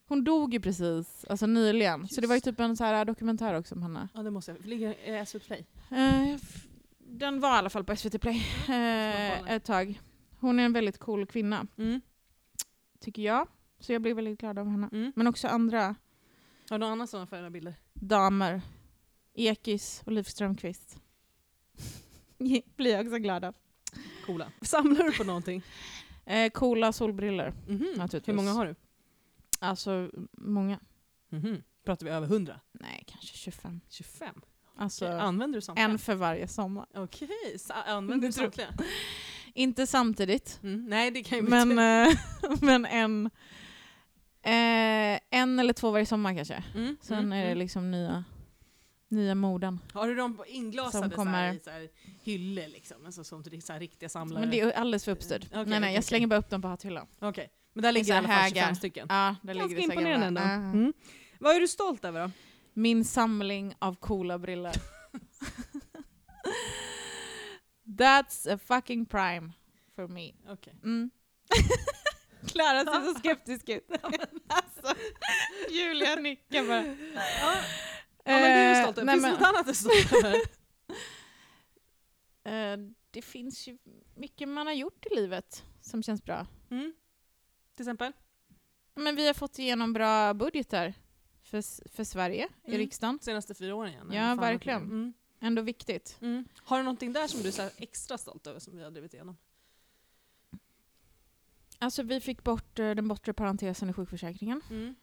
Hon dog ju precis, alltså nyligen. Så det var ju typ en så här dokumentär också om henne. ja, det måste jag. Ligger eh, SVT Play? Eh, f- den var i alla fall på SVT Play man kolla. eh, ett tag. Hon är en väldigt cool kvinna, Mm, tycker jag. Så jag blev väldigt glad av henne. mm. Men också andra Har du någon annan sån fina bilder? damer. Ekis och Liv Strömquist. Blir jag också glad av. Coola. Samlar du på någonting? Eh, coola solbriller. Mhm. Naturligtvis. Hur många har du? Alltså, många. Mhm. Pratar vi över 100? Nej, kanske 25. 25? Alltså, Okej, Använder du samtliga? en för varje sommar. Okej, sa- använder du Det tror- samtliga? Inte samtidigt, Mm. Nej, det kan ju men, inte... eh, men en, eh, en eller två varje sommar kanske. Mm, eh, Sen mm, är det mm. liksom nya, nya moden. Har du dem på inglasade Som så här, kommer- i så här, hyllor liksom? Alltså, som till så här, riktiga samlare? Men det är alldeles för uppstyrt. Eh, Okej, nej, nej, okej, jag okej. slänger bara upp dem på hatthyllan. Okej, men där ligger i här alla fall 25 högar. stycken. Ja, där ligger Ganska det säkert imponerande ändå. bara. Ja. Mm. Vad är du stolt över då? Min samling av coola briller. That's a fucking prime for me. Okej. Mm. Klara ser så skeptisk ut. alltså, Julia nickar bara. Ja. Ja, men det är du stolt Eh, över. nej, Finns det men- något annat du är stolt över? Eh, det finns ju mycket man har gjort i livet som känns bra. Mm. Till exempel? Men vi har fått igenom bra budgetar. för, S- för Sverige Mm. i riksdagen. Senaste fyra åren igen. Ja, Fan, vad verkligen. kul. Mm. Ändå viktigt. Mm. Har du någonting där som du är så här extra stolt över som vi har drivit igenom? Alltså vi fick bort eh, den bortre parentesen i sjukförsäkringen. Mm.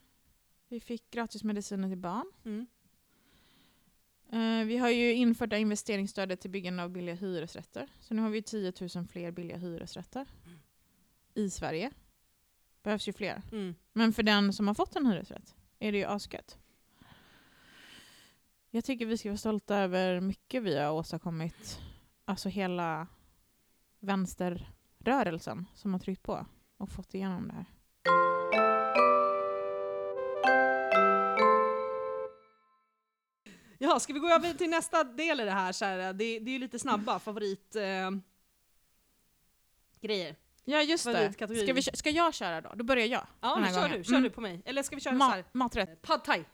Vi fick gratis mediciner till barn. Mm. Eh, vi har ju infört det här investeringsstödet till byggande av billiga hyresrätter. Så nu har vi ju 10 000 fler billiga hyresrätter i Sverige. Behövs ju fler. Mm. Men för den som har fått en hyresrätt är det ju asgött. Jag tycker vi ska vara stolta över mycket vi har åstadkommit. Alltså hela vänsterrörelsen som har tryckt på och fått igenom det här. Jaha, ska vi gå över till nästa del i det här? Så här det, det är ju lite snabba favorit... Eh, grejer. Ja just det. Ska, Favoritkategori. vi, kö- ska jag köra då? Då börjar jag. Ja, Den men här kör gången. du, kör Mm. du på mig. Eller ska vi köra så Ma här? maträtt. Pad thai.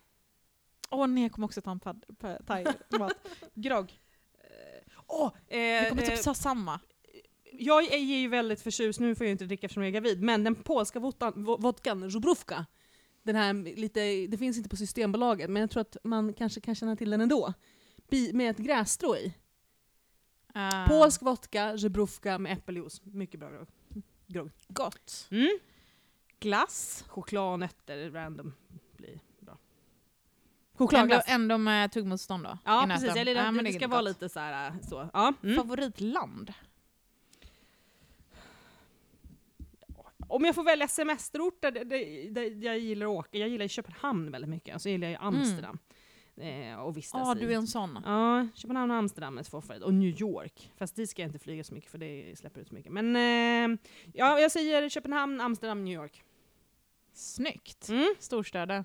Åh nej, jag kommer också ta en pad, pa- thai, mat. Grogg. Åh! eh, Jag kommer eh, typ ta samma. jag är ju väldigt förtjust, nu får jag ju inte dricka eftersom jag är gravid, men den polska vodkan, vo- vodkan Żubrówka, den här lite, det finns inte på Systembolaget, men jag tror att man kanske kan känna till den ändå. Bi, med ett grässtrå i. Eh, Polsk vodka, Żubrówka med äppeljuice. Mycket bra grogg. grogg. Gott. Mm. Glass. Choklad och nötter, random. Blir bra. Ändå, Chokladglass. ändå med tuggmotstånd då? Ja i näten. precis, jag gillar Ja, att men det är ska vara gott. lite så här. äh, Så. Ja. Mm. Favoritland? Om jag får välja semesterorter där, där, där jag gillar att åka, jag gillar ju Köpenhamn väldigt mycket, och så gillar jag ju Amsterdam. Eh, och vistas Mm. Ja, i. du är en sån. Ja, Köpenhamn och Amsterdam är två favorit. Och New York. Fast dit ska jag inte flyga så mycket för det släpper ut så mycket. Men eh, ja, jag säger Köpenhamn, Amsterdam, New York. Snyggt. Mm. Storstäder.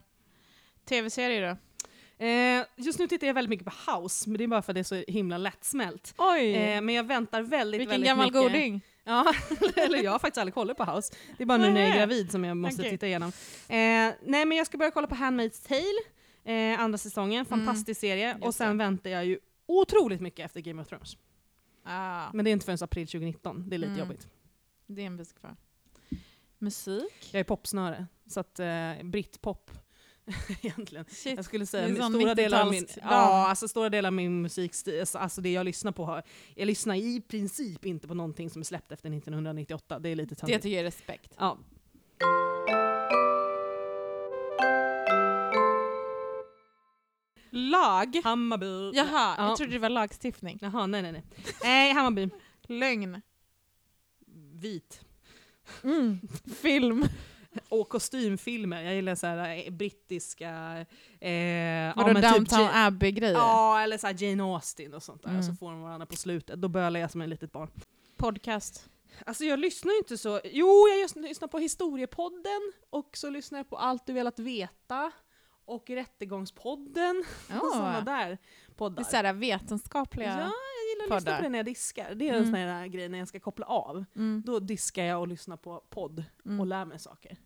Tv-serier då? Eh, just nu tittar jag väldigt mycket på House, men det är bara för att det är så himla lättsmält. Oj! Eh, men jag väntar väldigt, Mm. vilken väldigt gammal mycket. goding. Ja, eller jag har faktiskt aldrig kollat på House. Det är bara nu när jag är Nej. gravid som jag måste Okej. titta igenom. Eh, nej men jag ska börja kolla på Handmaid's Tale, eh, andra säsongen, fantastisk serie. Mm. Just Och sen väntar jag ju otroligt mycket efter Game of Thrones. Ah, Men det är inte förrän april 2019, det är lite Mm. jobbigt. det är en bit kvar. Musik? Jag är popsnöre, så att eh, brittpop egentligen. Shit. Jag skulle säga Det är min- sån stora delar av min, 90-talsdam. ja, alltså stora delar av min musikstil, alltså- alltså det jag lyssnar på, har, jag lyssnar i princip inte på någonting som är släppt efter 1998, det är lite Det töntigt. tycker jag är respekt. Ja. Lag? Hammarby. Jaha, Ja. jag trodde det var lagstiftning. Jaha, nej nej nej. Nej, Hammarby. Lögn. Vit. Mm. Film. Och kostymfilmer. Jag gillar så här eh, brittiska... Eh, ja, Vadå men Downtown Ja- Abbey-grejer? Ja, eller så här Jane Austen och sånt där. Mm. Och så får de varandra på slutet. Då bölar jag som ett litet barn. Podcast? Alltså jag lyssnar ju inte så... Jo, jag just- lyssnar på Historiepodden och så lyssnar jag på Allt du velat veta och Rättegångspodden och Åh. sådana där poddar. Det är såhär ja, vetenskapliga... jag gillar att lyssna poddar. på det när jag diskar. Det är en Mm. sån här grej när jag ska koppla av. Mm. Då diskar jag och lyssnar på podd Mm. och lär mig saker.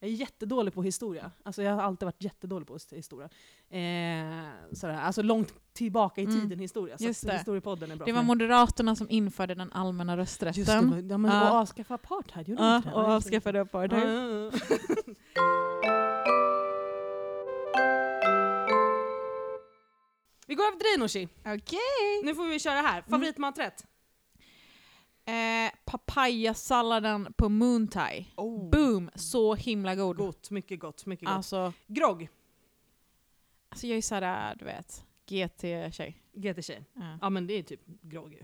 Jag är jättedålig på historia. Alltså jag har alltid varit jättedålig på his- historia. Eh, sådär. Alltså långt tillbaka i Mm. tiden historia. Så Just att det. historiepodden är bra Det för var mig. Moderaterna som införde den allmänna Just det, rösträtten. var- ja, men, Ja. och avskaffa apartheid, gjorde de Ja, inte det? och Nej, avskaffade precis. apartheid. Ja, ja, ja. Vi går över till dig Nooshi. Okej! Nu får vi köra här. Mm. Favoritmaträtt? Eh, papayasalladen på Moontai. Oh. Boom! Så himla god. Gott, mycket gott, mycket gott. Alltså, Grogg, alltså jag är såhär, du vet, GT-tjej. GT-tjej. Ja. Ja men det är typ grogg ju.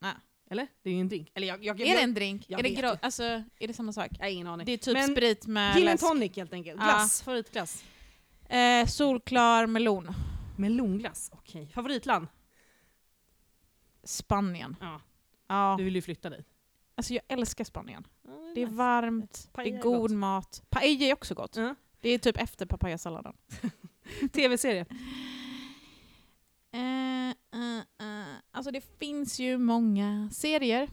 Nej. Eller? Det är ju en drink. Eller jag, jag, Är det en drink? jag Är det, vet gro- inte. alltså, är det samma sak? Jag har ingen aning. Det är typ Men sprit med Gin and läsk. tonic helt enkelt. Ja. Glass, favoritglass. Eh, solklar melon. Melonglass, okej. Favoritland? Spanien. Ja. Ja. Du vill ju flytta dit. Alltså jag älskar Spanien. Det är nice. varmt, Paella det är är god gott. mat. Paella är också gott. Ja. Det är typ efter papayasalladen. Tv-serie? Eh, eh, eh. Alltså det finns ju många serier.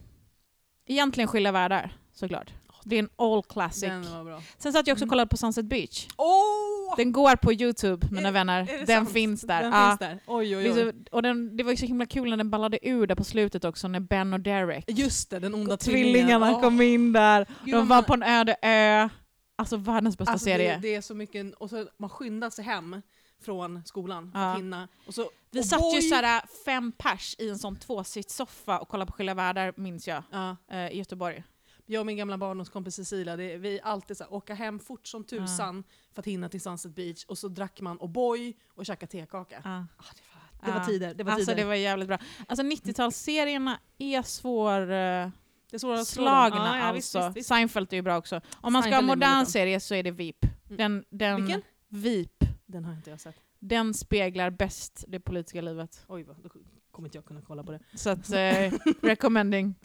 Egentligen Skilda världar, såklart. Det är en all classic. Den var bra. Sen satt jag också och Mm. kollade på Sunset Beach. Åh! Den går på Youtube, mina Är- vänner. Är det Den sant? finns där. Den Ja. finns där. Oj, Det oj, är oj. så- Och den, det var ju så himla kul när den ballade ur där på slutet också, när Ben och Derek. Just det, den onda Tvillingarna Åh, kom in där. gud, De vad var man- på en öde ö. Alltså världens bästa Alltså, serie. det, det är så mycket, och så man skyndar sig hem från skolan för Ja. att hinna. Och så, Vi och satt ju boy- såhär fem pers i en sån tvåsitssoffa och kollade på Skilda Världar, minns jag, Ja, eh, i Göteborg. jag och min gamla barndomskompis Cecilia, det, vi alltid så här, åka hem fort som tusan för att hinna till Sunset Beach och så drack man O'boy och käkade tekaka. Ah, det, var, det Ja. var tider. Det var alltså tider. det var jävligt bra. Alltså 90-talsserierna är svår... eh, Det är svårare att slå dem. slagna Ja, ja, visst, alltså. visst, visst. Seinfeld är ju bra också. Om man ska ha Seinfeld är modern väldigt bra. serie så är Mm. det VIP. Den, den, Vilken? VIP. Den har inte jag sett. Den speglar bäst det politiska livet. Oj, vad, då kommer inte jag kunna kolla på det. Så att, eh, recommending.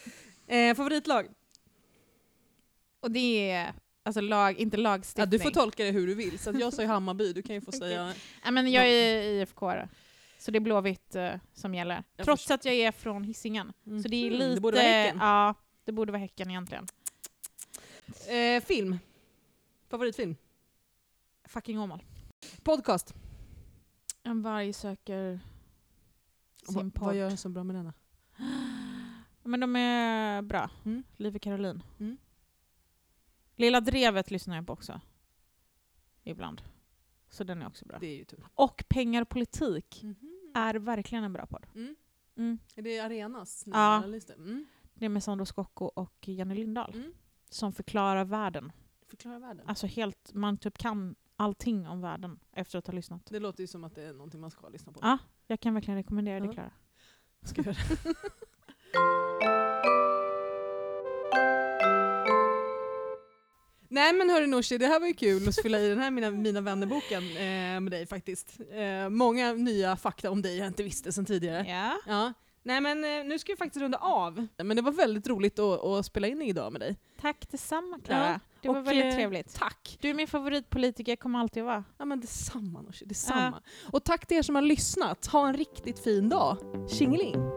Eh, favoritlag? Och det är, alltså lag, inte Ja, lagstiftning. du får tolka det hur du vill. Så att jag säger Hammarby, du kan ju få säga... Nej, men jag är IFK -are. Så det är Blåvitt eh, som gäller. Jag Trots förstår. att jag är från Hisingen. Mm. Så det är Mm, lite... det borde vara Häcken. Ja, det borde vara Häcken egentligen. Eh, film? Favoritfilm? Fucking Åmål. Podcast? En varg söker Va- sin Vad port. gör jag så bra med denna? Men de är bra. Mm. Liv och Caroline. Mm. Lilla Drevet lyssnar jag på också. Ibland. Så den är också bra. Det är ju tur. Och Pengar och politik är verkligen en bra podd. Mm. Mm. Är det Arenas? nya Ja. lista? Mm. Det är med Sandro Scocco och Jenny Lindahl. Mm. Som förklarar världen. Förklara världen. Alltså helt, man typ kan allting om världen efter att ha lyssnat. Det låter ju som att det är någonting man ska lyssna på. Ja, jag kan verkligen rekommendera det Ja. Klara. Ska jag göra. Nej men hörru Nooshi, det här var ju kul att fylla i den här Mina, mina vännerboken eh, med dig faktiskt. Eh, många nya fakta om dig jag inte visste sedan tidigare. Ja. Ja. Nej men eh, nu ska vi faktiskt runda av. Men det var väldigt roligt att, att spela in idag med dig. Tack detsamma Klara. Ja, Det var och, väldigt eh, trevligt. Tack! Du är min favoritpolitiker, kommer alltid att vara. Ja men detsamma Nooshi, detsamma. Och tack till er som har lyssnat. Ha en riktigt fin dag. Tjingeling!